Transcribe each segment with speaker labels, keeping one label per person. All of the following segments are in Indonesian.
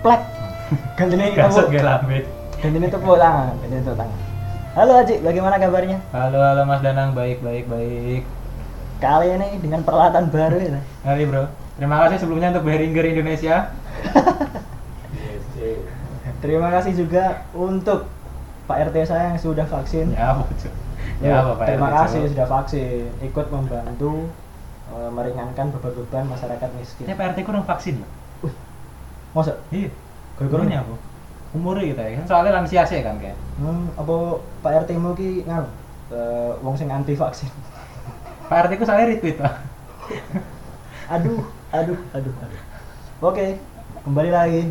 Speaker 1: plek gantine
Speaker 2: Gasot
Speaker 1: tepuk
Speaker 2: gak lambet.
Speaker 1: gantine tepuk tangan gantine tepuk tangan halo Aji bagaimana kabarnya
Speaker 2: Halo halo Mas Danang baik baik baik.
Speaker 1: kali ini dengan peralatan baru ya
Speaker 2: Mari bro. Terima kasih sebelumnya untuk Behringer Indonesia. Iya,
Speaker 1: terima kasih juga untuk Pak RT saya yang sudah vaksin
Speaker 2: Ya apa Cuk? Ya apa Pak
Speaker 1: terima
Speaker 2: RT,
Speaker 1: kasih
Speaker 2: Cuk?
Speaker 1: sudah vaksin ikut membantu eh, meringankan beban-beban masyarakat miskin
Speaker 2: Ini Pak RT kurang vaksin loh.
Speaker 1: Masa?
Speaker 2: Iya.
Speaker 1: Gara-gara
Speaker 2: Umurnya apa? Umurnya kita ya kan soalnya lansia sih kan kayak.
Speaker 1: Hmm, apa Pak RT mu ki nganu? Eh, wong sing anti vaksin.
Speaker 2: Pak RT ku saya retweet Pak.
Speaker 1: Aduh, aduh, aduh, aduh. Oke, kembali lagi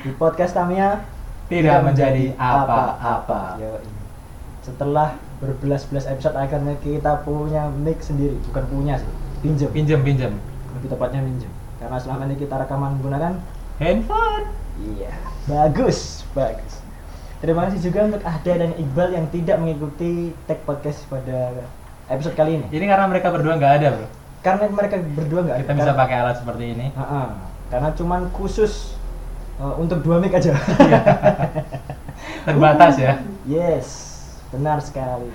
Speaker 1: di podcast Tamia
Speaker 2: Tidak menjadi apa-apa.
Speaker 1: Yo, ini. Setelah berbelas-belas episode akhirnya kita punya mic sendiri, bukan punya sih, pinjem.
Speaker 2: Pinjam pinjam.
Speaker 1: Lebih tepatnya pinjem. Karena selama ini kita rekaman menggunakan
Speaker 2: Handphone.
Speaker 1: Iya. Bagus, bagus. Terima kasih juga untuk Ahda dan Iqbal yang tidak mengikuti tag podcast pada episode kali ini.
Speaker 2: Ini karena mereka berdua nggak ada bro.
Speaker 1: Karena mereka berdua nggak
Speaker 2: Iya. Kita
Speaker 1: ada.
Speaker 2: bisa
Speaker 1: Karena-
Speaker 2: pakai alat seperti ini.
Speaker 1: Ha-ha. Karena cuman khusus uh, untuk dua mic aja.
Speaker 2: Iya. Terbatas ya.
Speaker 1: yes, benar sekali.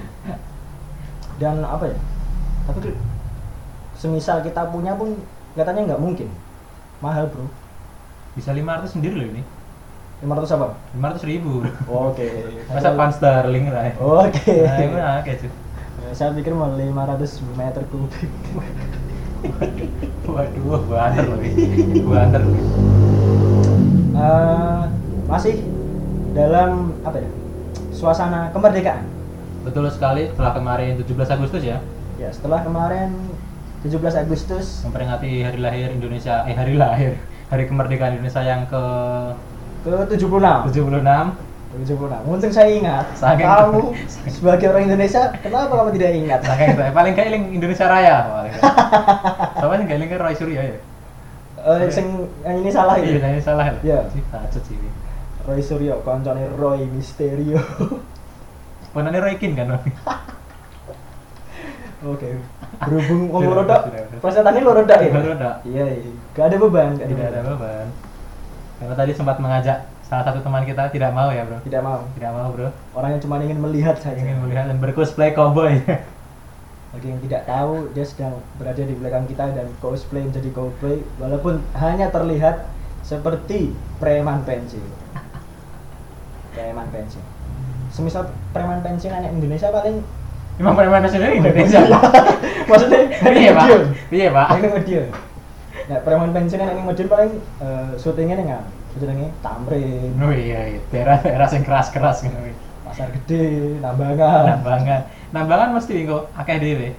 Speaker 1: Dan apa ya? Tapi ke- semisal kita punya pun katanya nggak mungkin. Mahal bro.
Speaker 2: Bisa 500 sendiri loh ini.
Speaker 1: 500 apa?
Speaker 2: 500 ribu bro.
Speaker 1: Oke.
Speaker 2: Masa pound sterling lah. ya?
Speaker 1: Oke. Eh,
Speaker 2: Nah, gimana kayak Cuk?
Speaker 1: Saya pikir mau 500 meter kubik.
Speaker 2: Waduh, banter loh ini. Banter.
Speaker 1: Eh, masih dalam apa ya? Suasana kemerdekaan.
Speaker 2: Betul sekali setelah kemarin 17 Agustus ya
Speaker 1: Ya, setelah kemarin 17 Agustus
Speaker 2: memperingati hari lahir Indonesia eh hari lahir hari kemerdekaan Indonesia yang ke
Speaker 1: ke 76.
Speaker 2: 76
Speaker 1: 76. Untung saya ingat.
Speaker 2: Saking-
Speaker 1: kamu sebagai orang Indonesia, kenapa kamu tidak ingat?
Speaker 2: Saking itu paling kayak link Indonesia Raya paling. Sama yang kailing kan Roy Suryo ya.
Speaker 1: Eh, sing yang ini salah
Speaker 2: Iya,
Speaker 1: ya.
Speaker 2: saya salah. loh.
Speaker 1: Iya.
Speaker 2: Sih tajud sih. ini.
Speaker 1: Roy Suryo, koncone Roy Misterio.
Speaker 2: Sebenarnya Roy Kin kan. Roy?
Speaker 1: Iya, Oke. Berhubung wong
Speaker 2: Tidak,
Speaker 1: loro tok,
Speaker 2: tidak, tidak.
Speaker 1: persentannya loro tok ya.
Speaker 2: Loro tok.
Speaker 1: Iya, iya. Gak ada beban, gak ada
Speaker 2: Tidak ada
Speaker 1: beban.
Speaker 2: beban. Karena tadi sempat mengajak salah satu teman kita tidak mau ya, Bro.
Speaker 1: Tidak mau.
Speaker 2: Tidak mau, Bro.
Speaker 1: Orang yang cuma ingin melihat saja.
Speaker 2: Ingin melihat dan bercosplay cowboy.
Speaker 1: Bagi yang tidak tahu, dia sedang berada di belakang kita dan cosplay menjadi cowboy walaupun hanya terlihat seperti preman pensil. Preman pensil. Semisal preman pensil anak Indonesia paling
Speaker 2: Emang mana-mana sendiri Indonesia.
Speaker 1: Iya. maksudnya
Speaker 2: Iya, Pak.
Speaker 1: Medion.
Speaker 2: Iya, Pak.
Speaker 1: Ini Medion. Nah, preman pensil anak Medion paling eh, syutingnya dengan syutingnya Tamrin,
Speaker 2: Oh iya, iya. daerah-daerah yang keras-keras gitu. wih.
Speaker 1: Pasar Gede, Nambangan.
Speaker 2: Nambangan. Nambangan mesti kok akeh dhewe.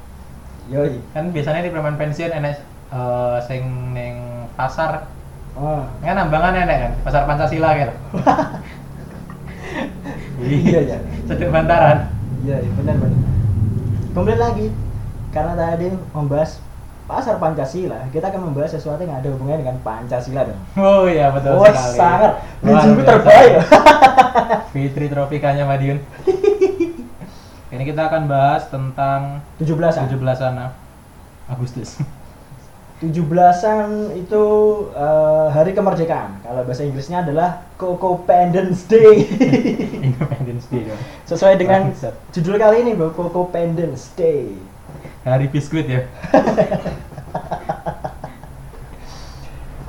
Speaker 1: Yoi.
Speaker 2: Kan biasanya di preman pensiun enek eh, sing ning pasar.
Speaker 1: Wah.
Speaker 2: Kan nambangan enek kan, pasar Pancasila gitu.
Speaker 1: Iya, iya.
Speaker 2: Sedek bantaran.
Speaker 1: Iya, iya, benar benar. Kembali lagi karena tadi membahas pasar Pancasila, kita akan membahas sesuatu yang ada hubungannya dengan Pancasila dong.
Speaker 2: Oh iya betul
Speaker 1: Wah,
Speaker 2: sekali.
Speaker 1: sangat.
Speaker 2: Luar
Speaker 1: Bijimu
Speaker 2: biasa.
Speaker 1: terbaik.
Speaker 2: Fitri Tropikanya Madiun. Ini kita akan bahas tentang
Speaker 1: 17-an.
Speaker 2: 17-an ah, Agustus.
Speaker 1: 17-an itu eh, hari kemerdekaan. Kalau bahasa Inggrisnya adalah Cocopendence Day.
Speaker 2: Independence Day. ya. dong.
Speaker 1: Sesuai dengan
Speaker 2: Bangsat.
Speaker 1: judul kali ini, Bro, Cocopendence Day.
Speaker 2: Hari biskuit ya.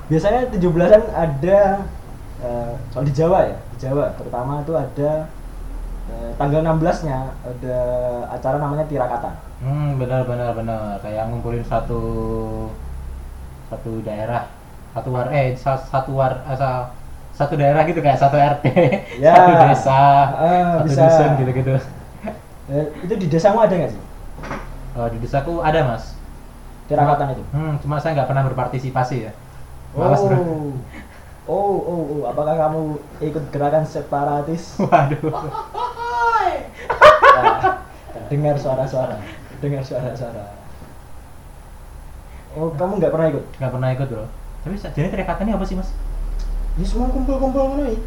Speaker 1: biasanya 17-an ada eh, kalau di Jawa ya di Jawa terutama itu ada eh, tanggal 16-nya ada acara namanya tirakatan
Speaker 2: Hmm, benar benar benar. Kayak ngumpulin satu satu daerah, satu war eh sa- satu war eh, sa- satu daerah gitu kayak satu RT,
Speaker 1: Ya.
Speaker 2: satu desa,
Speaker 1: Ah,
Speaker 2: satu
Speaker 1: bisa.
Speaker 2: dusun gitu-gitu.
Speaker 1: Eh, itu di desamu ada nggak sih
Speaker 2: Kalau Oh, di desaku ada, Mas.
Speaker 1: tirakatan itu
Speaker 2: Hmm, cuma saya nggak pernah berpartisipasi ya. Malas, Bro.
Speaker 1: oh oh oh apakah kamu ikut gerakan separatis
Speaker 2: Waduh.
Speaker 1: Ah, dengar suara-suara dengar suara-suara oh kamu nggak pernah ikut
Speaker 2: Nggak pernah ikut, Bro. Tapi jadi terikatan ini apa sih, Mas?
Speaker 1: ini Ya, semua kumpul-kumpul ngono ya.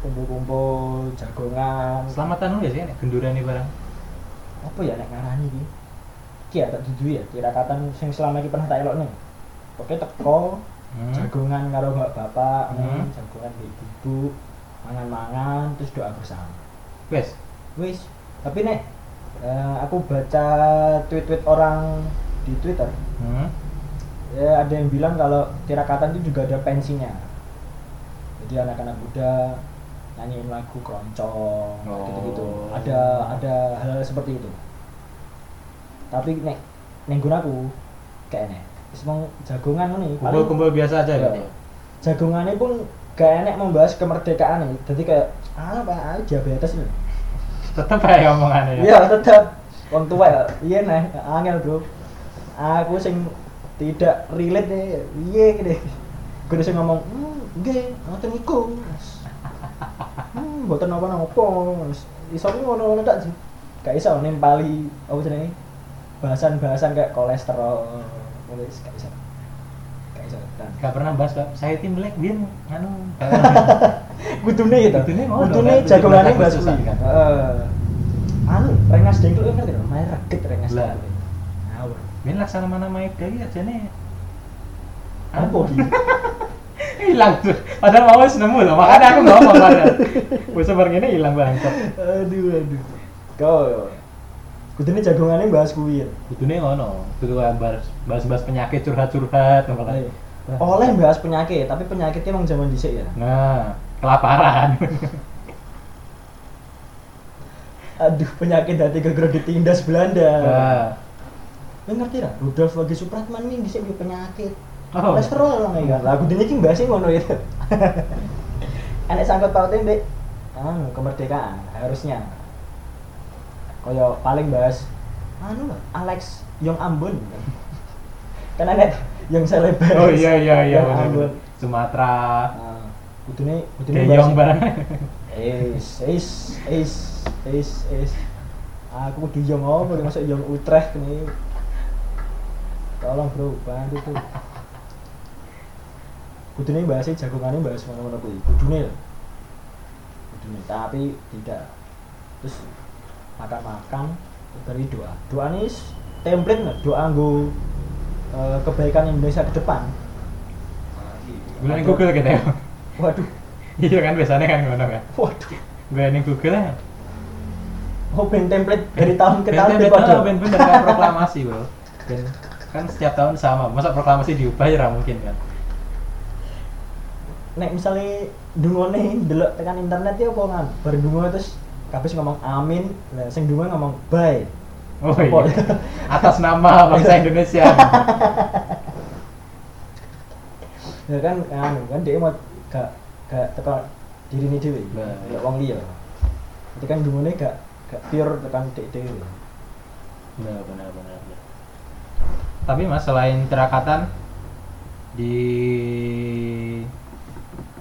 Speaker 1: kumpul-kumpul jagongan
Speaker 2: Selamatan dulu ya sih, ini genduran ini barang.
Speaker 1: apa ya nek ngarani iki iki ya tak dudu ya tirakatan sing selama iki pernah tak elokne oke teko
Speaker 2: Hmm.
Speaker 1: jagungan karo bapak-bapak,
Speaker 2: Hmm.
Speaker 1: hmm. jagungan mbek ibu, mangan-mangan terus doa bersama.
Speaker 2: Wes.
Speaker 1: Wis, tapi nek eh, aku baca tweet-tweet orang di Twitter,
Speaker 2: Hmm.
Speaker 1: ya ada yang bilang kalau tirakatan itu juga ada pensinya. Jadi anak-anak muda nyanyiin lagu keroncong
Speaker 2: Oh.
Speaker 1: gitu-gitu. Ada ada hal, seperti itu. Tapi nek nek gunaku kayaknya wis mong jagongan ngene paling-
Speaker 2: Kumpul-kumpul biasa aja
Speaker 1: Iya.
Speaker 2: gitu.
Speaker 1: jagongannya pun gak enak membahas kemerdekaan nih jadi kayak ah apa ah, diabetes nih
Speaker 2: Tetep aja omongannya ya.
Speaker 1: iya tetap orang tua ya iya nah angel bro aku sing tidak relate nih iya gede gue sing ngomong hmm gak ngoten iku Mas. hmm buatan apa apa Mas. iso aku ngono ngono tak sih gak iso nimpali apa jenenge bahasan-bahasan kayak kolesterol nulis gak iso gak iso Dan-
Speaker 2: Gak pernah bahas Pak. saya tim black bin anu
Speaker 1: kudune gitu
Speaker 2: Kudune ngono,
Speaker 1: kudune
Speaker 2: kan?
Speaker 1: jagongane
Speaker 2: Kudune
Speaker 1: Mbak
Speaker 2: susah,
Speaker 1: Suwi
Speaker 2: kan?
Speaker 1: heeh anu rengas dengkluk kan ngerti lho main reget rengas
Speaker 2: Lah.
Speaker 1: dengkluk ngawur
Speaker 2: bin laksana mana maik dari aja nih
Speaker 1: apa
Speaker 2: Anu.
Speaker 1: iki
Speaker 2: hilang tuh padahal mau wis nemu loh makanya aku ngomong padahal bisa bareng ini hilang bangsat
Speaker 1: aduh aduh kau kudune jagongane Mbak Suwi ya.
Speaker 2: butuhnya ngono butuh kayak kan bahas bahas bahas penyakit kan. curhat curhat
Speaker 1: Ayo.
Speaker 2: makanya
Speaker 1: oleh bahas penyakit tapi penyakitnya emang zaman dhisik ya
Speaker 2: nah kelaparan
Speaker 1: aduh penyakit hati gegro ditindas Belanda
Speaker 2: nah.
Speaker 1: lu ngerti lah Rudolf lagi Supratman ini dhisik punya penyakit
Speaker 2: oh
Speaker 1: kolesterol lah ya lah kudune iki mbahasnya ngono itu enek sangkut pautnya mbek anu kemerdekaan harusnya koyo paling bahas anu lho, Alex Yong Ambon kan enek yang selebgram
Speaker 2: oh iya iya iya
Speaker 1: Yang
Speaker 2: bener.
Speaker 1: Ambon
Speaker 2: Sumatera
Speaker 1: nah, kudune kudune
Speaker 2: Deyong barang
Speaker 1: Is, is, is, is, is. Aku kudu yang apa nih masuk yang Utrecht nih. Tolong bro, bantu tuh. Kudu nih bahasnya jagongannya bahas mana-mana kuwi. Kudu nih. Kudu nih, tapi tidak. Terus makan-makan beri doa. Doa nih s- template nggak? Doa nggo eh, kebaikan Indonesia ke depan.
Speaker 2: gue nih Google gitu ya
Speaker 1: Waduh,
Speaker 2: iya kan biasanya kan ngono kan
Speaker 1: waduh.
Speaker 2: gue nih Google ya
Speaker 1: Oh, ben template dari tahun ke
Speaker 2: Ben-
Speaker 1: tahun
Speaker 2: ben- ben-
Speaker 1: berkode.
Speaker 2: oh, ben bener kan proklamasi bro Ben- kan setiap tahun sama masa proklamasi diubah ya nggak mungkin kan
Speaker 1: nek misalnya dungone delok tekan internet ya apa kan berdungo terus kabeh ngomong amin nah sing dungo ngomong bye
Speaker 2: oh
Speaker 1: Apa?
Speaker 2: iya atas nama bangsa Indonesia
Speaker 1: ya kan anu kan dia mau gak gak tekan diri ini dhewe
Speaker 2: Nah.
Speaker 1: ya wong liya jadi kan dungone gak gak pure tekan dek dhewe
Speaker 2: benar benar benar benar. tapi mas selain terakatan di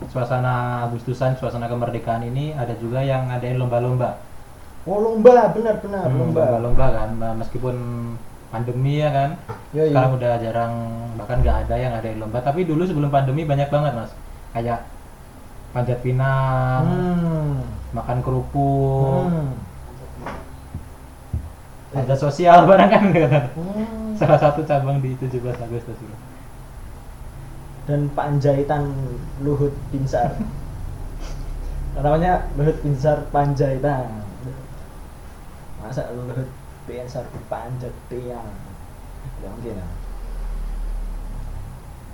Speaker 2: suasana Agustusan suasana kemerdekaan ini ada juga yang ngadain lomba-lomba
Speaker 1: oh lomba bener bener Ah,
Speaker 2: Hmm,
Speaker 1: lomba
Speaker 2: lomba-lomba kan meskipun pandemi ya kan
Speaker 1: ya iya
Speaker 2: sekarang udah jarang bahkan nggak ada yang ngadain lomba tapi dulu sebelum pandemi banyak banget mas kayak panjat pinang
Speaker 1: hmm.
Speaker 2: makan kerupuk
Speaker 1: Hmm.
Speaker 2: ada sosial barang kan
Speaker 1: Hmm.
Speaker 2: salah satu cabang di 17 Agustus itu
Speaker 1: dan Panjaitan Luhut Pinsar namanya Luhut Pinsar Panjaitan masa Luhut Pinsar Panjat Tiang nggak mungkin lah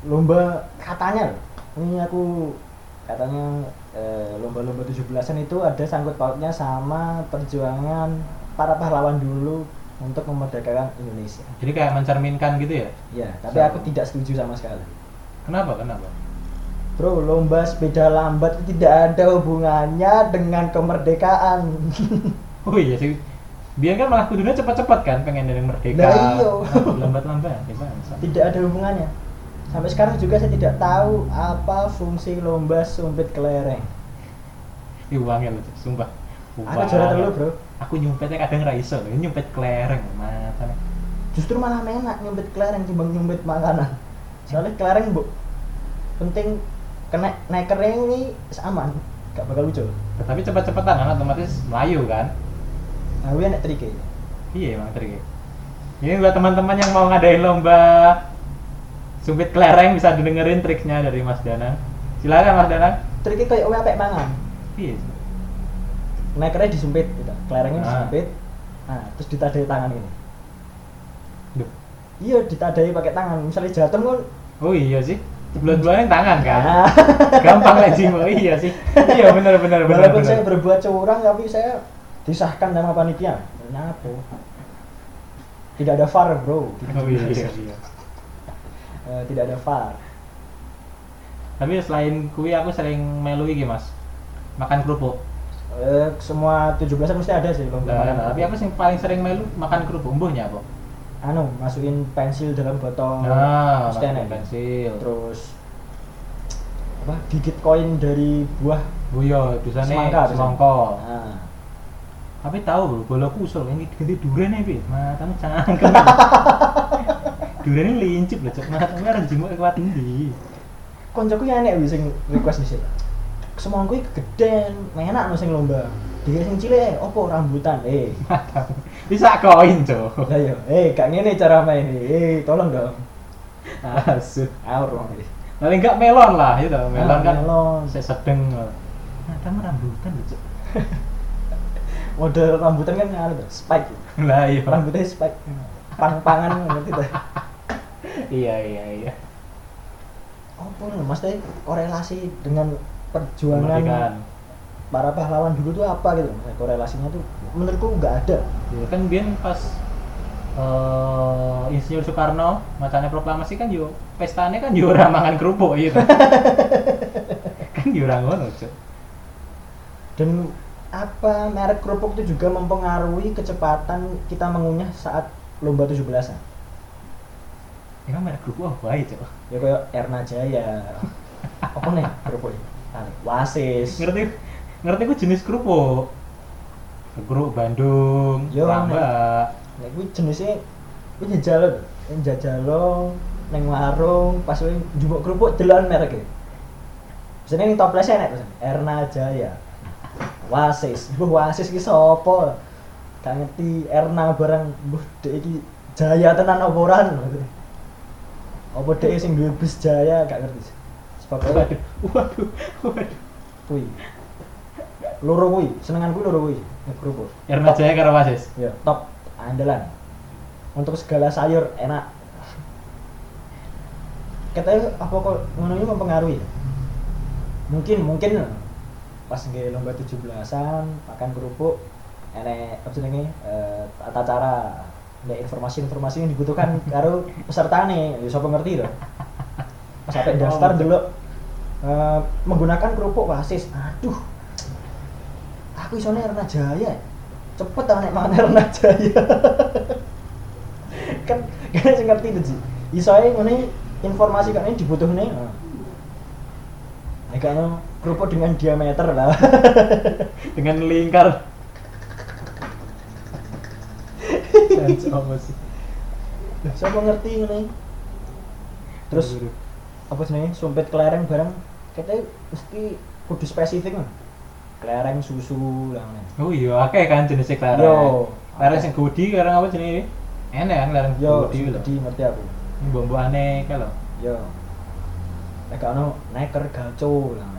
Speaker 1: lomba katanya loh, ini aku katanya eh, lomba-lomba 17-an itu ada sangkut pautnya sama perjuangan para pahlawan dulu untuk memerdekakan Indonesia
Speaker 2: jadi kayak mencerminkan gitu ya
Speaker 1: ya tapi
Speaker 2: Sama.
Speaker 1: aku tidak setuju sama sekali
Speaker 2: kenapa kenapa
Speaker 1: Bro, lomba sepeda lambat itu tidak ada hubungannya dengan kemerdekaan.
Speaker 2: oh iya sih biar kan malah kudunya cepet-cepet kan pengen dari merdeka
Speaker 1: Lah iya.
Speaker 2: lambat-lambat ya bangsa.
Speaker 1: tidak ada hubungannya. Sampai sekarang juga saya tidak tahu apa fungsi lomba sumpit kelereng.
Speaker 2: Ih, uangnya lu sumpah
Speaker 1: Aku
Speaker 2: Uang.
Speaker 1: juara dulu, Bro.
Speaker 2: aku nyumpetnya kadang raiso ini nyumpet kelereng mata
Speaker 1: Justru malah enak nyumpit kelereng timbang nyumpit makanan. Soalnya kelereng, Bu. Penting kena naik kering ini aman. Gak bakal lucu.
Speaker 2: tapi cepat-cepatan kan otomatis melayu kan
Speaker 1: Nah, gue enak triknya.
Speaker 2: Iya emang trik. Ini buat teman-teman yang mau ngadain lomba Sumpit kelereng bisa didengerin triknya dari Mas Danang. Silakan Mas Danang.
Speaker 1: Triknya kayak wae apek mangan.
Speaker 2: Iya.
Speaker 1: Nekernya disumpit gitu. Kelerengnya
Speaker 2: Ah.
Speaker 1: disumpit. Nah, terus ditadai tangan ini.
Speaker 2: Duh.
Speaker 1: Iya, ditadai pakai tangan. Misalnya jatem kan.
Speaker 2: Oh iya sih. Sebelah-sebelahnya tangan kan.
Speaker 1: Ah.
Speaker 2: Gampang lah Jimo. Iya sih. Iya benar benar benar.
Speaker 1: Walaupun saya
Speaker 2: benar.
Speaker 1: berbuat curang tapi saya disahkan sama panitia. Kenapa? Tidak ada VAR, Bro. Gitu.
Speaker 2: Oh iya, iya, iya.
Speaker 1: Eh, tidak ada VAR.
Speaker 2: Tapi selain kui aku sering melu iki Mas. Makan kerupuk.
Speaker 1: Eh, semua 17 mesti ada sih lomba.
Speaker 2: Nah,
Speaker 1: makan.
Speaker 2: tapi aku sing paling sering melu makan kerupuk embuhnya apa?
Speaker 1: anu, masukin pensil dalam botol.
Speaker 2: Nah,
Speaker 1: terus tenek.
Speaker 2: makan pensil.
Speaker 1: Oh. Terus apa? Gigit koin dari buah.
Speaker 2: Oh iya, biasanya
Speaker 1: Semangka, biasanya.
Speaker 2: semangka.
Speaker 1: Nah,
Speaker 2: Tapi tahu bro, bola kusel ini ganti durian ya, Pi. Matamu cangkem. durian ini lincip loh, cok. Matamu merah jenguk kuat endi.
Speaker 1: koncoku yang enek wis sing request di sini. Semangku iki gedean, enak no sing lomba. Dikira sing cilik, opo rambutan. Eh,
Speaker 2: Matamu. Bisa koin, cok.
Speaker 1: Lah yo, eh gak ngene cara main. Eh, tolong dong.
Speaker 2: Asu.
Speaker 1: Aur wong iki.
Speaker 2: Paling enggak melon lah, itu melon
Speaker 1: Ah,
Speaker 2: kan.
Speaker 1: melon.
Speaker 2: Saya sedeng. Matamu rambutan loh, cok.
Speaker 1: Model rambutan kan ngene, spike.
Speaker 2: Lah iya.
Speaker 1: Rambutnya spike. Pang-pangan gitu. ngerti ta.
Speaker 2: Iya, iya, iya.
Speaker 1: Opo lho, Mas teh korelasi dengan
Speaker 2: Kemerdekaan.
Speaker 1: perjuangan para pahlawan dulu tuh apa gitu. Maksudnya korelasinya tuh menurutku nggak ada.
Speaker 2: Ya, kan biar pas eh Insinyur Soekarno macamnya proklamasi kan yo pestanya kan yo orang mangan kerupuk gitu kan yo orang ngono Cuk.
Speaker 1: Dan apa merek kerupuk itu juga mempengaruhi kecepatan kita mengunyah saat lomba 17-an.
Speaker 2: emang merek kerupuk apa aja cok
Speaker 1: Ya kayak Erna Jaya. Apa nih kerupuknya? Wasis.
Speaker 2: ngerti ngerti ku jenis kerupuk kerupuk Bandung
Speaker 1: Yo,
Speaker 2: Lambak
Speaker 1: Nek kuwi Nah, jenisnya kuwi jajal lho. Yang jajal lo neng warung pas kuwi njupuk kerupuk delokan merek e. Biasane ning toplesnya enak pesan. Erna Jaya. Wasis. Mbuh Wasis ki sapa? Gak ngerti Erna barang mbuh dek iki Jaya tenan apa ora ngono. Apa dek sing duwe bus Jaya gak ngerti. Sebab
Speaker 2: waduh waduh waduh
Speaker 1: kuwi loro kuwi, senengan kuwi loro kuwi, nek kerupuk.
Speaker 2: Erna Jaya karo Wasis
Speaker 1: ya top andalan untuk segala sayur enak katanya apa kok ngono ini mempengaruhi ya? mungkin mungkin pas nggih lomba 17-an makan kerupuk enek apa jenenge eh, tata cara ada informasi-informasi yang dibutuhkan karo peserta nih ya sapa ngerti to pas sampai daftar dulu eh, menggunakan kerupuk wasis aduh aku isone Erna Jaya cepet tau nek mangan Erna Jaya kan kan sing ngerti itu sih isoe ngene informasi kan ini dibutuhne nah. Nek kayaknya kerupuk dengan diameter lah
Speaker 2: dengan lingkar Cuk, apa sih?
Speaker 1: siapa ngerti ngene terus
Speaker 2: Aduh.
Speaker 1: apa jenenge sumpit kelereng bareng kita mesti kudu spesifik lah. kelereng susu lah ngene
Speaker 2: Oh iya, akeh kan jenisnya kelereng.
Speaker 1: Yo.
Speaker 2: Kelereng sing gudi, kelereng apa jenenge? Enak kan kelereng
Speaker 1: yo
Speaker 2: gudi lho.
Speaker 1: di ngerti aku
Speaker 2: Ini bumbu aneh kan lho.
Speaker 1: yo nek ana neker gaco lah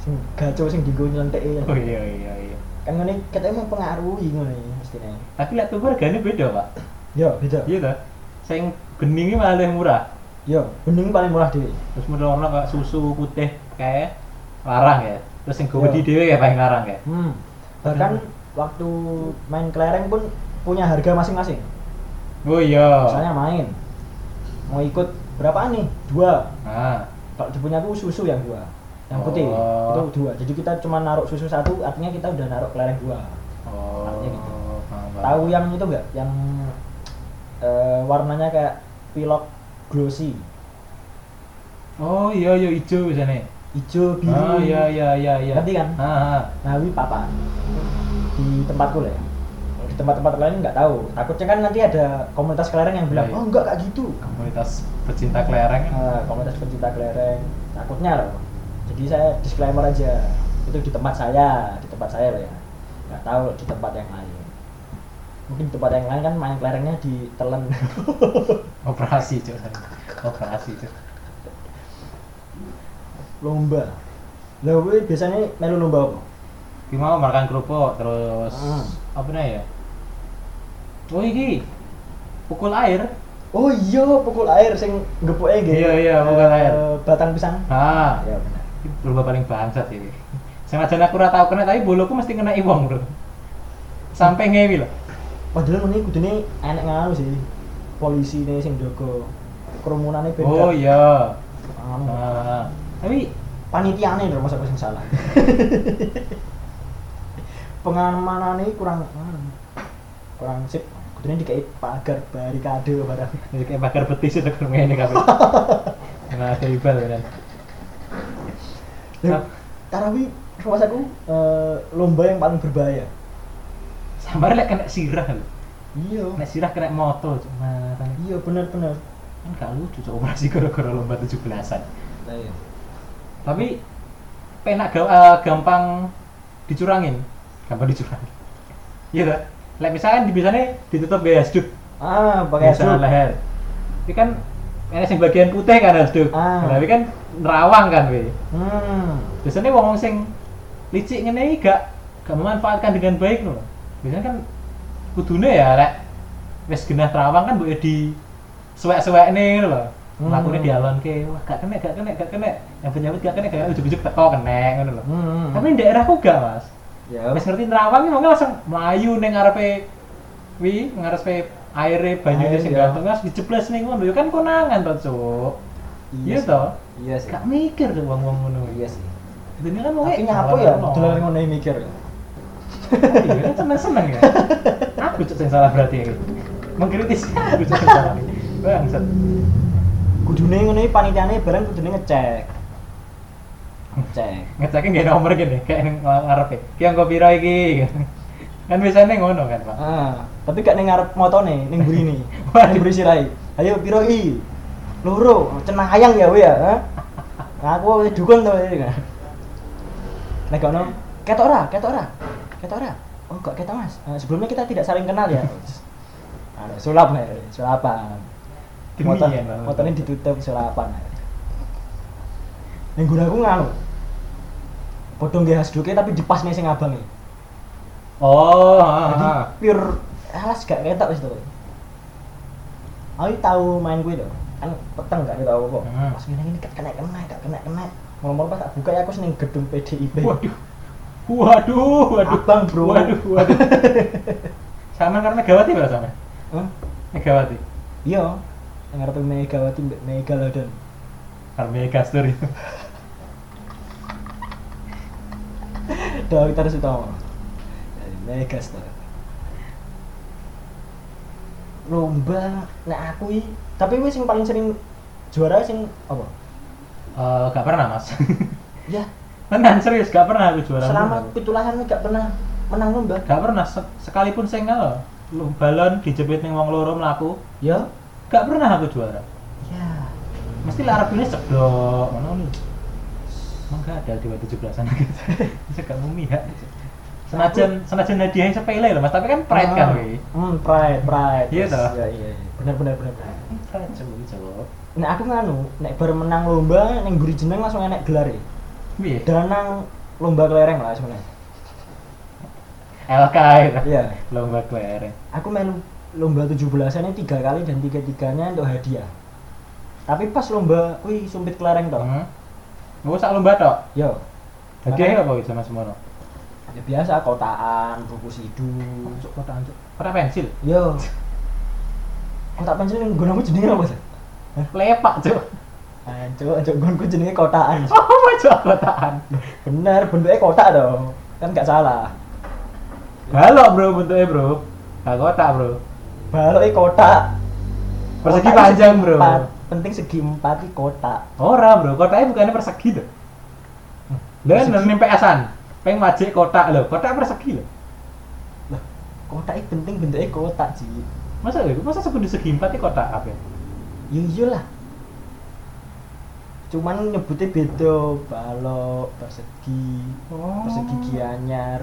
Speaker 1: sing gaco sing digo nyentek
Speaker 2: Oh iya iya iya.
Speaker 1: kan ngene kita emang pengaruhi ngene mestine
Speaker 2: Tapi lihat tuh harganya beda, Pak.
Speaker 1: yo beda
Speaker 2: Iya toh. Sing bening ini malah lebih murah.
Speaker 1: yo Ya, bening paling murah dhewe
Speaker 2: Terus model warna kayak susu putih kayak larang ya. Terus sing gudi dhewe kayak paling larang ya.
Speaker 1: hmm. bahkan
Speaker 2: Hmm.
Speaker 1: waktu main kelereng pun punya harga masing-masing
Speaker 2: Oh iya.
Speaker 1: misalnya main mau ikut berapaan nih dua
Speaker 2: Nah,
Speaker 1: kalau di punya aku susu yang dua yang
Speaker 2: Oh.
Speaker 1: putih itu dua jadi kita cuma naruh susu satu artinya kita udah naruh kelereng dua
Speaker 2: oh.
Speaker 1: Artinya gitu.
Speaker 2: paham, paham.
Speaker 1: tahu yang itu enggak yang eh, warnanya kayak pilok glossy
Speaker 2: Oh iya iya hijau biasanya.
Speaker 1: hijau biru
Speaker 2: Oh iya iya iya iya.
Speaker 1: Ngerti kan?
Speaker 2: Ah, ah.
Speaker 1: nah wi papa di tempatku lah ya Kalau di tempat-tempat lain nggak tahu takutnya kan nanti ada komunitas kelereng yang bilang
Speaker 2: Iya, iya.
Speaker 1: oh enggak kayak gitu
Speaker 2: Komunitas pecinta kelereng kan.
Speaker 1: Eh, komunitas pencinta kelereng takutnya loh jadi saya disclaimer aja itu di tempat saya di tempat saya loh ya nggak tahu loh di tempat yang lain mungkin di tempat yang lain kan main kelerengnya di telan
Speaker 2: operasi cuy operasi itu
Speaker 1: lomba lah kuwi biasanya melu lomba apa
Speaker 2: gimana makan kerupuk terus
Speaker 1: Hmm.
Speaker 2: apa nih ya oh iki pukul air
Speaker 1: oh iya pukul air sing gepuke nggih
Speaker 2: Iya, iya, pukul
Speaker 1: eh,
Speaker 2: air.
Speaker 1: batang pisang
Speaker 2: ah
Speaker 1: ya benar
Speaker 2: Ini berubah paling bangsat sih Semajan aku ora tau kena tapi boloku mesti kena wong, Bro. Sampai ngewi loh.
Speaker 1: padahal ini kudune enek nganu sih polisi nih sing jaga kerumunane ben
Speaker 2: Oh
Speaker 1: gak-
Speaker 2: iya.
Speaker 1: anu.
Speaker 2: Nah, tapi
Speaker 1: panitiane lho masa aku sing salah pengamanane kurang anu, kurang sip kudune dikai pagar barikade barang
Speaker 2: jadi ya kayak bakar betis itu kan ngene kabeh. Nah, teribal kan.
Speaker 1: Lah, Tarawih rumah aku eh, lomba yang paling berbahaya.
Speaker 2: Sambar lek kena sirah lho.
Speaker 1: Iya.
Speaker 2: Kena sirah kena moto cuma kan
Speaker 1: Iya benar-benar.
Speaker 2: gak lucu cok operasi gara-gara lomba 17-an.
Speaker 1: Lah iya.
Speaker 2: Tapi penak ga- eh, gampang dicurangin. Gampang dicurangin. Iya toh? Lek misalkan di- biasanya ditutup gaya sedut.
Speaker 1: Ah, pakai
Speaker 2: Biasa
Speaker 1: asduk.
Speaker 2: leher. Ini kan ini sing bagian putih kan harus duk.
Speaker 1: Ah.
Speaker 2: Tapi kan nerawang kan we.
Speaker 1: Hmm.
Speaker 2: Biasanya wong wong sing licik ngene iki gak gak memanfaatkan dengan baik lho. Biasanya kan kudune ya lek wis genah terawang kan mbok di suwek-suwek nih lho.
Speaker 1: Hmm.
Speaker 2: Lakunya dialonke, wah gak kena, gak kena, gak kena. Yang penyambut gak kena, gak kena, ujuk-ujuk teko kena ngono lho.
Speaker 1: Hmm.
Speaker 2: Tapi di daerahku gak, Mas.
Speaker 1: ya.
Speaker 2: Wis ngerti nerawang iki monggo langsung mlayu ning ngarepe wi ngarepe aire iya. banyune
Speaker 1: Air,
Speaker 2: sing
Speaker 1: ya.
Speaker 2: ganteng terus dijebles ning ngono ya kan konangan to, Cuk. Iya
Speaker 1: sih.
Speaker 2: toh?
Speaker 1: Iya sih.
Speaker 2: Gak mikir tuh wong-wong ngono.
Speaker 1: Iya sih.
Speaker 2: Dene kan wong
Speaker 1: Tapi nyapu ya, dolar ngono yang mikir.
Speaker 2: Iya kan seneng-seneng ya. Aku cuk sing salah berarti iki. Mengkritis aku cuk sing salah. Bangsat.
Speaker 1: Kudune ngono iki panitiane bareng kudune ngecek. Ngecek.
Speaker 2: Ngecekin dia nomor gini, kayak yang ngarepe. Ki anggo piro iki? Kan biasanya ngono kan, Pak.
Speaker 1: Ah, tapi gak ning ngarep motone, ning burine.
Speaker 2: Waduh.
Speaker 1: Ning buri sirahe. Ayo piro i? Loro, cenayang ya we ya. ha? Nah, aku wis dukun to iki. Nek gak ono, ketok ora, ketok ora. Ketok ora. Oh, gak ketok Mas. Eh, sebelumnya kita tidak saling kenal ya. Ada sulap, ya, sulapan.
Speaker 2: Demi
Speaker 1: Motor,
Speaker 2: ya, Bang.
Speaker 1: motornya ditutup sulapan. Ning guru aku ngono. Podong nggih hasduke tapi dipas nih sing abang iki.
Speaker 2: Oh, ah,
Speaker 1: Jadi
Speaker 2: ah.
Speaker 1: pure alas gak ketok wis to. Aku tahu main gue tuh. Kan peteng gak tahu apa.
Speaker 2: Hmm.
Speaker 1: Pas ngene ini gak kena kena gak kena kena. Ngomong pas tak buka ya aku seneng gedung PDIP.
Speaker 2: Waduh. Waduh, waduh.
Speaker 1: Abang, bro.
Speaker 2: Waduh, waduh. sama karena Megawati Pak sama. ya?
Speaker 1: Hah?
Speaker 2: Megawati.
Speaker 1: Iya. Yang ngarepe Megawati Mbak Mega Lodon.
Speaker 2: Karena Megastur itu.
Speaker 1: Doa kita harus utama. Ya, Mega Star. Lomba nek aku i, tapi wis sing paling sering juara sing apa?
Speaker 2: Eh, gak pernah mas.
Speaker 1: Ya,
Speaker 2: Tenan serius, gak pernah aku juara.
Speaker 1: selama
Speaker 2: lomba.
Speaker 1: pitulasan gak pernah menang lomba.
Speaker 2: Gak pernah se- sekalipun saya nggak lu balon dijepit ning wong loro mlaku.
Speaker 1: Ya.
Speaker 2: Gak pernah aku juara.
Speaker 1: Ya.
Speaker 2: Mesti lah Arab ini cedok, mana nih? Emang gak ada di waktu 17-an gitu. Bisa gak mau mihak. Senajan senajan hadiahnya sepele loh mas, tapi kan pride kan weh.
Speaker 1: Hmm, pride, pride.
Speaker 2: Iya
Speaker 1: Yes,
Speaker 2: toh?
Speaker 1: Iya, iya, iya. Benar, benar, benar. benar.
Speaker 2: Pride coba coba.
Speaker 1: Nek aku nganu, nek bar menang lomba, ning buri jeneng langsung enek gelar e.
Speaker 2: Wih,
Speaker 1: Danang lomba kelereng lah sebenarnya.
Speaker 2: LK itu.
Speaker 1: Iya.
Speaker 2: Lomba kelereng.
Speaker 1: Aku melu lomba 17-an tiga kali dan tiga-tiganya untuk hadiah. Tapi pas lomba, wih sumpit kelereng toh.
Speaker 2: Hmm. Mau sak lomba tok.
Speaker 1: Yo,
Speaker 2: Hadiahnya apa gitu Mas Mono?
Speaker 1: ya biasa kotaan, buku sidu.
Speaker 2: Cuk kota anjuk. Kota pensil.
Speaker 1: Yo. Kotak pensil yang gunamu jenenge apa Ah, sih?
Speaker 2: Lepak cuk.
Speaker 1: Ancuk, ancuk gonku jenenge kotaan.
Speaker 2: Oh, macam kotaan.
Speaker 1: Bener, bentuknya kotak dong. Kan nggak salah.
Speaker 2: Halo bro bentuknya bro. Gak kotak bro.
Speaker 1: Baloknya kotak.
Speaker 2: Persegi
Speaker 1: Kotaknya
Speaker 2: panjang
Speaker 1: segi
Speaker 2: bro.
Speaker 1: empat. Penting segi empat di kotak.
Speaker 2: Ora bro, kotaknya bukannya persegi tuh. Lah
Speaker 1: persegi.
Speaker 2: nih PS-an. Peng wajik kotak lho, kotak persegi lho.
Speaker 1: Kotak itu penting bentuknya kotak sih.
Speaker 2: Masa lho, masa sebut di segi empat ini kotak apa? ya?
Speaker 1: Ya iyalah. Cuman nyebutnya beda balok, persegi,
Speaker 2: Oh.
Speaker 1: persegi gianyar,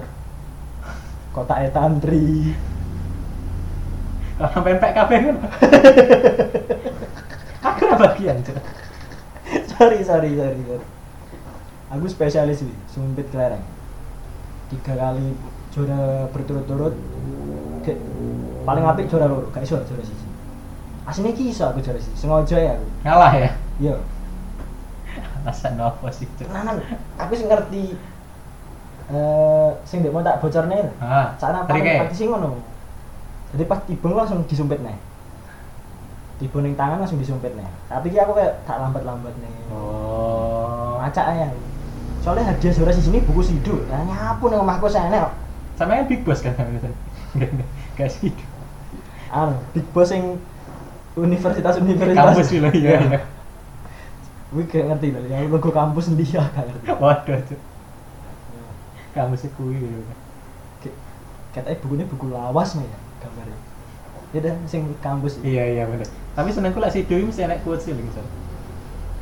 Speaker 1: kotak tantri.
Speaker 2: Orang pempek kabeh kan. Aku Kenapa lagi anjir?
Speaker 1: sorry sorry sorry sorry. aku spesialis nih sumpit kelereng tiga kali juara berturut-turut Ge- paling apik juara loro gak iso juara siji aslinya ki iso aku juara siji sengaja ya aku
Speaker 2: Ngalah ya?
Speaker 1: iya
Speaker 2: Alasan apa sih itu?
Speaker 1: tenanan aku sing ngerti eh sing dek mau tak bocorne lho.
Speaker 2: Ah,
Speaker 1: cara
Speaker 2: tadi
Speaker 1: paling
Speaker 2: kayak-
Speaker 1: pati sing ngono jadi pas tiba langsung disumpit nih tiba ning tangan langsung disumpit nih tapi ki aku kayak tak lambat-lambat nih
Speaker 2: Oh.
Speaker 1: Macak ya. Soalnya hadiah juara di sini buku sidu. Nah, nyapu nang omahku sana.
Speaker 2: Sama yang Big Boss kan kan Gak sih.
Speaker 1: Anu, Big Boss yang universitas universitas.
Speaker 2: Kampus dulu iya. iya.
Speaker 1: Wih, gak ngerti lah. Yang logo kampus sendiri ya, gak ngerti.
Speaker 2: Waduh. Cuk. Kampus itu kuwi. iya, lho.
Speaker 1: Kayak- Katanya bukunya buku lawas nih ya gambarnya. Ya dah, sing kampus.
Speaker 2: Iya iya bener. Tapi senengku lek sido iki mesti enek quotes sih lho, Misal.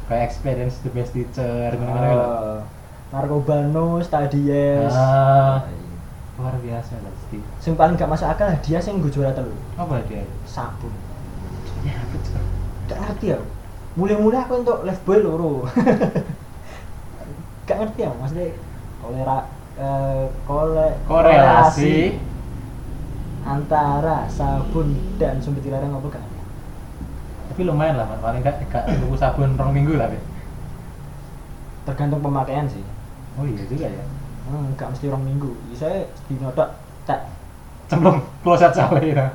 Speaker 2: Kayak experience the best teacher ngono-ngono lho.
Speaker 1: Ah, Narkobanus, Tadies.
Speaker 2: Ah.
Speaker 1: Iya.
Speaker 2: Luar biasa lho pasti.
Speaker 1: Sing paling gak masuk akal hadiah sing gue juara telu.
Speaker 2: Apa dia?
Speaker 1: Sabun.
Speaker 2: Ya betul.
Speaker 1: gak ngerti ya mulai-mulai aku untuk left boy loro gak ngerti ya maksudnya kolera eh, kole,
Speaker 2: Korelasi
Speaker 1: antara sabun dan sumpit dilarang apa gak ngerti.
Speaker 2: tapi lumayan lah Mat. paling gak gak tuku sabun rong minggu lah Bet.
Speaker 1: tergantung pemakaian sih
Speaker 2: oh iya juga ya
Speaker 1: hmm, gak mesti orang minggu Iya, saya dinotok tak
Speaker 2: cemplung kloset sawah ya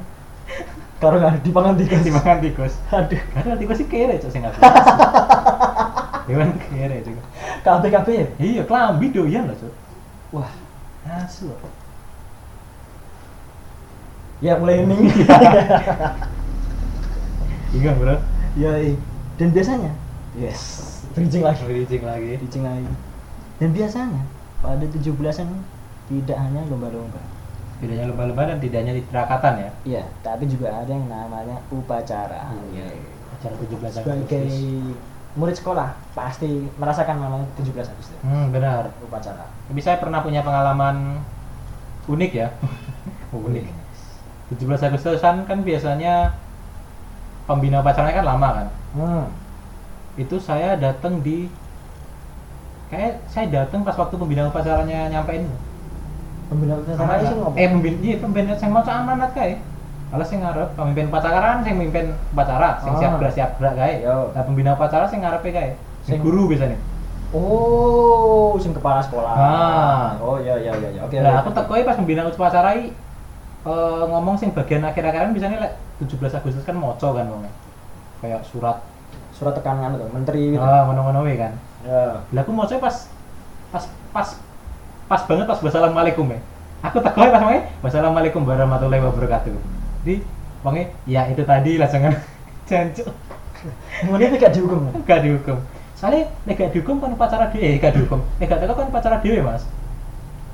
Speaker 1: karo nggak di pangan tikus
Speaker 2: dimakan tikus
Speaker 1: aduh
Speaker 2: karena tikus sih kere cok sing ngapain hewan kere juga
Speaker 1: KB KB ya
Speaker 2: iya kelambi doyan loh cok
Speaker 1: wah
Speaker 2: asu
Speaker 1: ya mulai hening
Speaker 2: iya bro
Speaker 1: ya iya. dan biasanya yes bridging lagi
Speaker 2: bridging lagi
Speaker 1: Kucing lain. Dan biasanya pada 17-an tidak hanya lomba-lomba.
Speaker 2: tidaknya lumba-lumba dan tidaknya diterakatan ya
Speaker 1: Iya, tapi juga ada yang namanya upacara.
Speaker 2: acara 17
Speaker 1: Sebagai
Speaker 2: Agustus
Speaker 1: murid sekolah pasti merasakan namanya 17 Agustus.
Speaker 2: hmm benar
Speaker 1: Upacara.
Speaker 2: tapi saya pernah punya pengalaman unik ya unik 17 Agustusan kan biasanya pembina upacaranya kan lama kan
Speaker 1: Hmm.
Speaker 2: itu saya datang di kayak saya datang pas waktu pembina upacaranya nyampein
Speaker 1: Pembina upacara itu ngomong.
Speaker 2: eh pembina iya pembina saya mau amanat kayak kalau saya ngarep pemimpin upacara saya mimpin upacara sing
Speaker 1: Ah.
Speaker 2: siap gerak siap gerak kayak
Speaker 1: Yo.
Speaker 2: nah pembina upacara saya ngarepe kayak
Speaker 1: Sing-
Speaker 2: sing guru biasanya
Speaker 1: Oh, sing kepala sekolah.
Speaker 2: Ah.
Speaker 1: Oh, iya iya iya. iya. Oke.
Speaker 2: nah
Speaker 1: oke.
Speaker 2: aku tekoi pas pembina upacara i, eh, ngomong sing bagian akhir-akhiran biasanya lek 17 Agustus kan moco kan wongnya kayak surat
Speaker 1: surat tekanan tuh, menteri gitu.
Speaker 2: ah ngono-ngono we kan
Speaker 1: Ya.
Speaker 2: Lah aku mocoknya pas pas pas pas banget pas wassalamualaikum ya. Aku tekoe pas mangi wassalamualaikum warahmatullahi wabarakatuh. Jadi mangi ya itu tadi lah jangan jancuk
Speaker 1: Ngono iki gak dihukum. kan?
Speaker 2: gak dihukum. Soalnya nek gak dihukum kan pacara dhewe eh, gak dihukum. Nek gak teko kan pacara dhewe, Mas.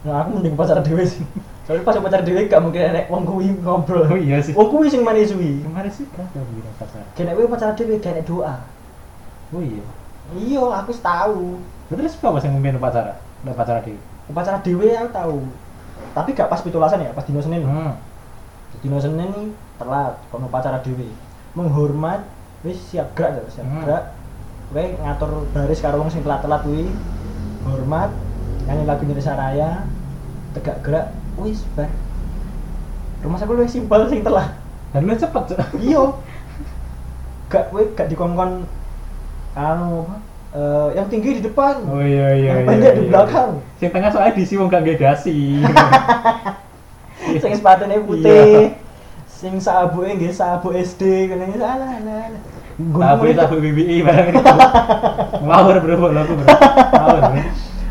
Speaker 1: Nah, aku mending pacar dhewe sih. Soalnya pas pacar dhewe gak mungkin enek wong kuwi ngobrol.
Speaker 2: Oh iya sih.
Speaker 1: Wong kuwi sing manisui.
Speaker 2: Kemarin sih gak ada bilang pacara.
Speaker 1: Kena gue pacar dhewe kena doa.
Speaker 2: Oh iya.
Speaker 1: Iya, aku tahu.
Speaker 2: Lah, Terus apa sing mimpin pacara? Nek pacara dhewe.
Speaker 1: Pacar dhewe aku tahu. Tapi gak pas pitulasan ya, pas dino Senin.
Speaker 2: Hmm.
Speaker 1: Dino Senin nih telat kono pacar dhewe. Menghormat wis siap gerak terus, siap
Speaker 2: Hmm.
Speaker 1: gerak. Kowe ngatur baris karo wong sing telat-telat kuwi. Hormat, nyanyi lagu Indonesia Raya, tegak gerak, wis bar. Rumah aku luwih simpel sing telat.
Speaker 2: Dan lu cepet, Cok.
Speaker 1: iya gak gue gak dikongkon anu apa eh, yang tinggi di depan
Speaker 2: Oh iya iya.
Speaker 1: yang
Speaker 2: iya,
Speaker 1: pendek di
Speaker 2: iya.
Speaker 1: belakang
Speaker 2: Sing tengah soalnya diisi wong gak Iya, nggih dasi.
Speaker 1: sing sepatunya
Speaker 2: Iya.
Speaker 1: putih sing sabuke nggih sabu SD kene salah salah
Speaker 2: Tapi
Speaker 1: nggonku
Speaker 2: tapi BBI barang itu. Ngawur bro, bro aku bro. Ngawur bro.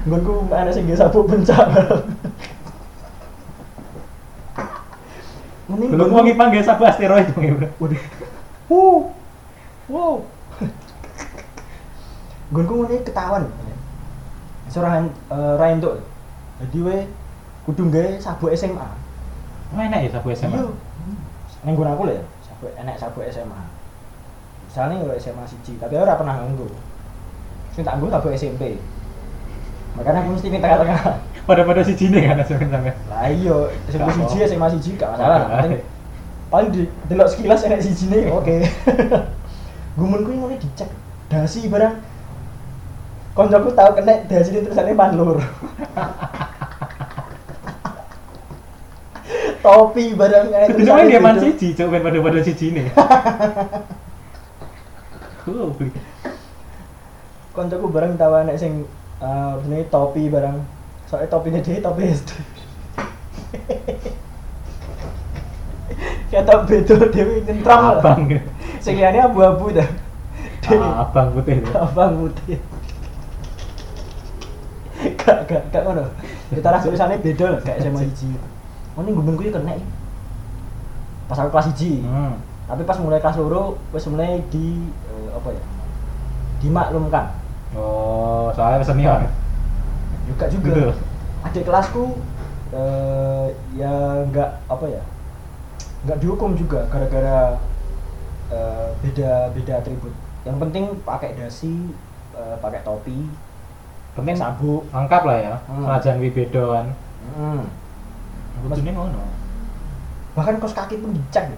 Speaker 1: nggonku ana sing nggih sabu bencak Mending
Speaker 2: Belum mau ngipang gak sabu asteroid bang, bro.
Speaker 1: Waduh. Wow. Wow. Gonku mulai ketahuan. Surahan uh, Rain tuh. Jadi we kudu gawe sabu SMA.
Speaker 2: Oh enak ya sabu SMA.
Speaker 1: Iya. Ning nggon aku lho ya, sabu enek sabu SMA. Misalnya kalau SMA siji, tapi ora pernah nganggo. Sing tak nggo sabu SMP. Makanya aku mesti ning tengah-tengah.
Speaker 2: Pada-pada si Jini kan sampai sampai.
Speaker 1: Lah iya, SMP
Speaker 2: Gak
Speaker 1: siji
Speaker 2: apa.
Speaker 1: SMA siji gak masalah. Yang penting paling di delok sekilas enak sijine oke gumun kuwi ngene dicek dasi barang koncoku tau kena dasi ini tulisannya panlur topi barang kayak
Speaker 2: Terus main dia man siji, coba pada pada siji ini. Cool.
Speaker 1: koncoku barang tau anak sing eh ini topi barang soalnya topinya dia topi ya SD kata bedo dewi nyentram lah.
Speaker 2: Abang, Ah.
Speaker 1: sing liyane abu-abu dah Dewe-
Speaker 2: abang putih.
Speaker 1: Abang putih. Gak gak gak ngono. Ya Kita ras tulisannya beda loh, kayak SMA hiji. Oh ini gumen kuwi kena. iki. Pas aku kelas hiji.
Speaker 2: Hmm.
Speaker 1: Tapi pas mulai kelas loro wis mulai di eh, apa ya? Dimaklumkan.
Speaker 2: Oh, soalnya senior.
Speaker 1: Juga
Speaker 2: Betul.
Speaker 1: juga. Adik kelasku eh, ya enggak apa ya? Enggak dihukum juga gara-gara eh, beda-beda atribut. Yang penting pakai dasi, eh, pakai topi,
Speaker 2: Penting
Speaker 1: sabuk,
Speaker 2: lengkap lah ya.
Speaker 1: Hmm.
Speaker 2: Kerajaan Wibedo kan.
Speaker 1: Hmm.
Speaker 2: Kudunya ngono.
Speaker 1: Bahkan kaos kaki pun dicek.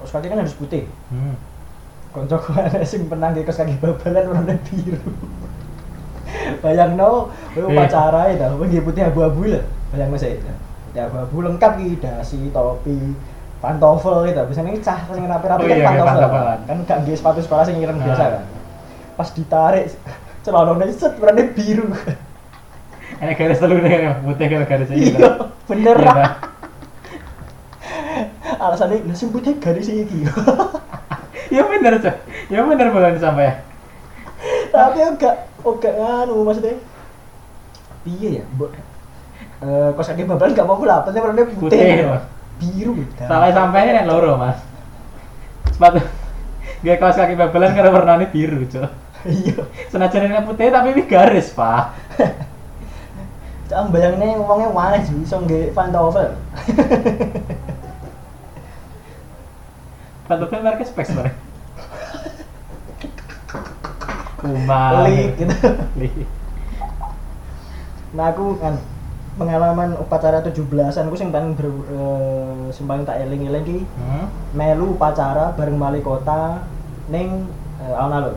Speaker 1: Kaos kaki kan harus putih.
Speaker 2: Hmm.
Speaker 1: Konco gua ada sing pernah nggih kaos kaki babalan warna biru. Bayangno, kowe
Speaker 2: Eh.
Speaker 1: upacara itu, kowe nggih putih abu-abu ya? lah. Bayangno sik. Putih Ya abu-abu lengkap iki dasi, topi, pantofel e itu. Biasanya ini cah sing rapi-rapi
Speaker 2: Oh
Speaker 1: kan
Speaker 2: iya, kayak
Speaker 1: pantofel.
Speaker 2: pantofelan.
Speaker 1: Kan gak nggih sepatu sekolah sing ireng
Speaker 2: Ah.
Speaker 1: biasa kan. Pas ditarik celananya set warna biru.
Speaker 2: Iya, Ini garis telur nih, putih kalau garis ini.
Speaker 1: Iya, bener.
Speaker 2: Iya, Pak.
Speaker 1: Alasannya, lah sing putih garis iki.
Speaker 2: Ya bener cah. Ya bener bulan sampai ya.
Speaker 1: tapi enggak enggak anu maksudnya piye ya mbok eh kos kaki babal enggak mau lah penting warnanya putih,
Speaker 2: Putih, ya.
Speaker 1: biru gitu
Speaker 2: Sampai sampai nek loro, Mas. Sepatu Gak kaos kaki babelan karena warnanya biru, cok.
Speaker 1: iya
Speaker 2: Senajan ini putih tapi ini garis, Pak.
Speaker 1: cuma bayanginnya uangnya wanes bisa nggak pantofel
Speaker 2: Patutnya mereka spek sebenarnya. Kumar.
Speaker 1: Lik, gitu.
Speaker 2: Lik.
Speaker 1: nah aku kan pengalaman upacara 17-an aku sing paling ber, eh, sing paling tak eling-eling ki
Speaker 2: Hmm?
Speaker 1: melu upacara bareng wali kota ning eh, alun-alun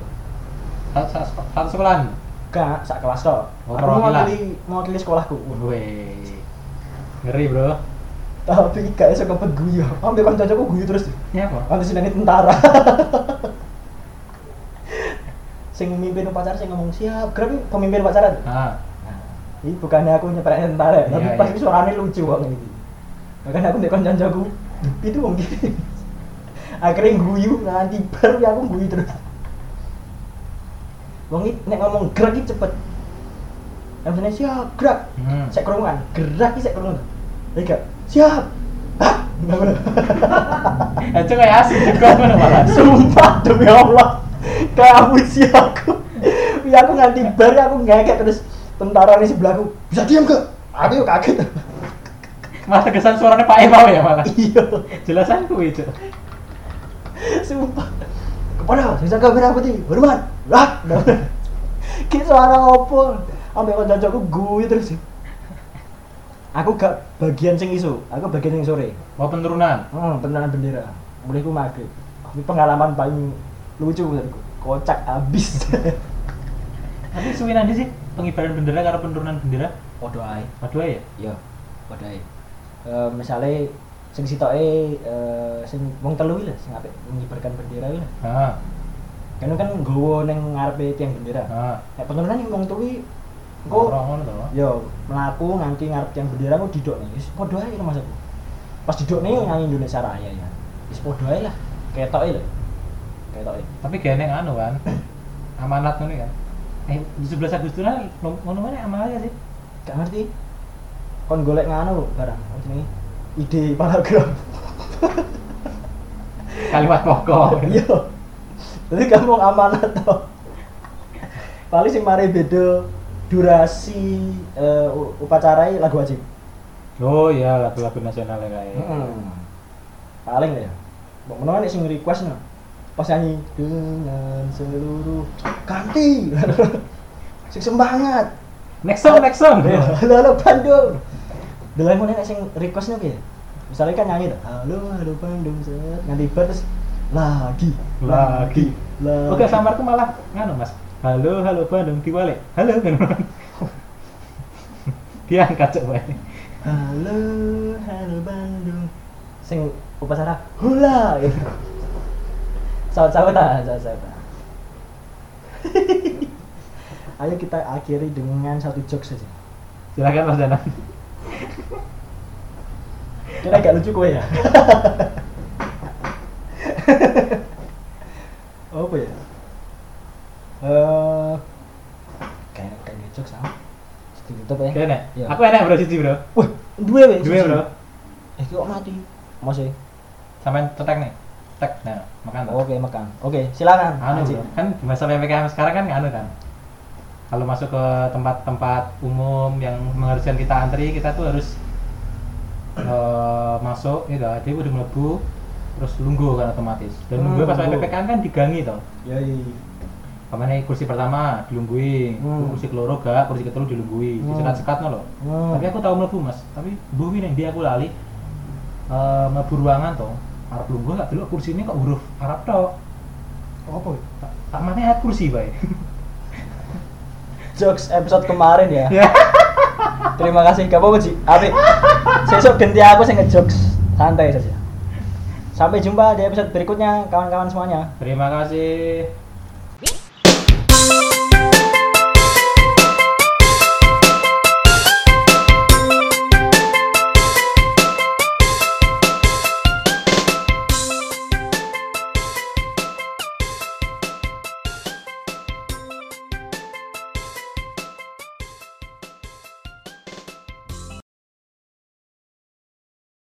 Speaker 2: Satu- satu- Satu sekolahan.
Speaker 1: gak sak kelas tok
Speaker 2: Oh,
Speaker 1: aku mau
Speaker 2: perwakilan.
Speaker 1: pilih mau pilih sekolahku
Speaker 2: Weh. Ngeri, Bro.
Speaker 1: tapi gak iso kepet guyu ambil kan cocokku guyu terus
Speaker 2: Ya, Pak.
Speaker 1: Pantes ini tentara. sing mimpin upacara sing ngomong siap, grab ini pemimpin upacara.
Speaker 2: Ah.
Speaker 1: Nah, ini bukannya aku nyeperain tentara, ya,
Speaker 2: Iya,
Speaker 1: tapi
Speaker 2: iya.
Speaker 1: pas suaranya lucu banget ini. Makanya aku ndek jago itu mungkin. Akhirnya guyu nanti baru aku guyu terus. Wong iki nek ngomong gerak iki cepet. Yang bener, siap, gerak.
Speaker 2: Hmm.
Speaker 1: Sek kerungan, gerak iki sek kerungan. Lha gak, siap. Hah? Ngono.
Speaker 2: Ya, cok kayak asik juga mana malah.
Speaker 1: Sumpah demi Allah, kayak amunisi aku. Ya aku nganti bar, aku ngekek terus tentara di sebelahku. Bisa diam gak? Aku yuk kaget.
Speaker 2: Malah kesan suaranya Pak Emau ya malah.
Speaker 1: iya,
Speaker 2: Jelasan ku itu.
Speaker 1: sumpah. Kepala, sisa kamera putih, hormat. Lah, kayak suara opo. Ambil kontak aku gue terus. Aku gak bagian sing isu, aku bagian sing sore.
Speaker 2: Mau penurunan.
Speaker 1: Hmm, penerangan bendera. Mulai ku maghrib. Tapi pengalaman paling lucu menurutku. Kocak abis.
Speaker 2: Tapi suwi nanti sih pengibaran bendera karena penurunan bendera.
Speaker 1: Waduh ae.
Speaker 2: Waduh ya.
Speaker 1: ya padahal Eh misalnya sing sitoke eh sing wong telu iki lho sing apik mengibarkan bendera iki lho
Speaker 2: Ah.
Speaker 1: kan kan nggawa ning ngarepe tiang bendera
Speaker 2: Ah.
Speaker 1: nek penurunan yang wong tuwi engko
Speaker 2: Ngono to.
Speaker 1: yo mlaku nganti ngarep tiang bendera kok didokne Ya wis padha ae maksudku pas didokne nang Indonesia Raya ya wis padha ae lah ketoke lho ketoke
Speaker 2: Tapi gene anu kan. Amanat ngono kan. Eh, 17 Agustus lah, nom- ngono mana amanat ya sih?
Speaker 1: gak ngerti kon golek nganu barang apa jenenge ide paragraf
Speaker 2: Kalimat pokok.
Speaker 1: iya jadi kamu amanat toh paling sing mari beda durasi eh, u- upacara lagu wajib
Speaker 2: Oh iya, lagu-lagu nasional ya kayak.
Speaker 1: paling ya Mbak Menoan nih sing request no pas nyanyi dengan seluruh ganti sing semangat
Speaker 2: Next song, next song.
Speaker 1: halo halo Bandung dulu yang mulai nek sing request nih misalnya kan nyanyi tuh halo halo Bandung set nganti bar terus lagi
Speaker 2: Lagi.
Speaker 1: lagi
Speaker 2: Oke, samarku malah nganu, Mas. Halo, halo Bandung diwalek. Halo, Bandung. Dia angkat coba ini.
Speaker 1: halo halo Bandung sing upacara hula gitu saut sautan saut ah. sautan ayo kita akhiri dengan satu jokes saja
Speaker 2: Silakan Mas Danang.
Speaker 1: kira gak lucu kowe ya apa ya eh kayak kayak ada jokes sama ditutup ya
Speaker 2: Keren
Speaker 1: Iya.
Speaker 2: ya? Aku enak bro, siji bro.
Speaker 1: Wah, dua weh.
Speaker 2: Dua bro.
Speaker 1: Eh, kok mati? ya? Masih.
Speaker 2: Sampai cetek nih. Tek, nah, makan. Bro.
Speaker 1: Oh, Oke, makan. Oke, silakan.
Speaker 2: anu
Speaker 1: Haji.
Speaker 2: bro. kan di masa ppkm sekarang kan anu kan kalau masuk ke tempat-tempat umum yang mengharuskan kita antri kita tuh harus eh, masuk gitu jadi udah melebu terus lunggu kan otomatis dan
Speaker 1: Hmm,
Speaker 2: lunggu pas
Speaker 1: lungguh.
Speaker 2: ppkm kan digangi toh
Speaker 1: Yoi.
Speaker 2: Kemana kursi pertama dilunggui,
Speaker 1: Hmm.
Speaker 2: kursi keloro gak, kursi ketelu dilunggui,
Speaker 1: Hmm.
Speaker 2: disekat-sekat no loh.
Speaker 1: Hmm.
Speaker 2: Tapi aku tahu mlebu mas, tapi bumi nih dia aku lali Eh mlebu ruangan toh, Arab lungguh gak dulu kursi ini kok huruf Arab toh,
Speaker 1: Apa?
Speaker 2: tak, tak mana kursi baik.
Speaker 1: Jokes episode kemarin ya.
Speaker 2: Ya.
Speaker 1: Terima kasih. Gak apa-apa, Ji. Apik. Sesuk ganti aku sing ngejokes. Santai saja. Sampai jumpa di episode berikutnya, kawan-kawan semuanya.
Speaker 2: Terima kasih.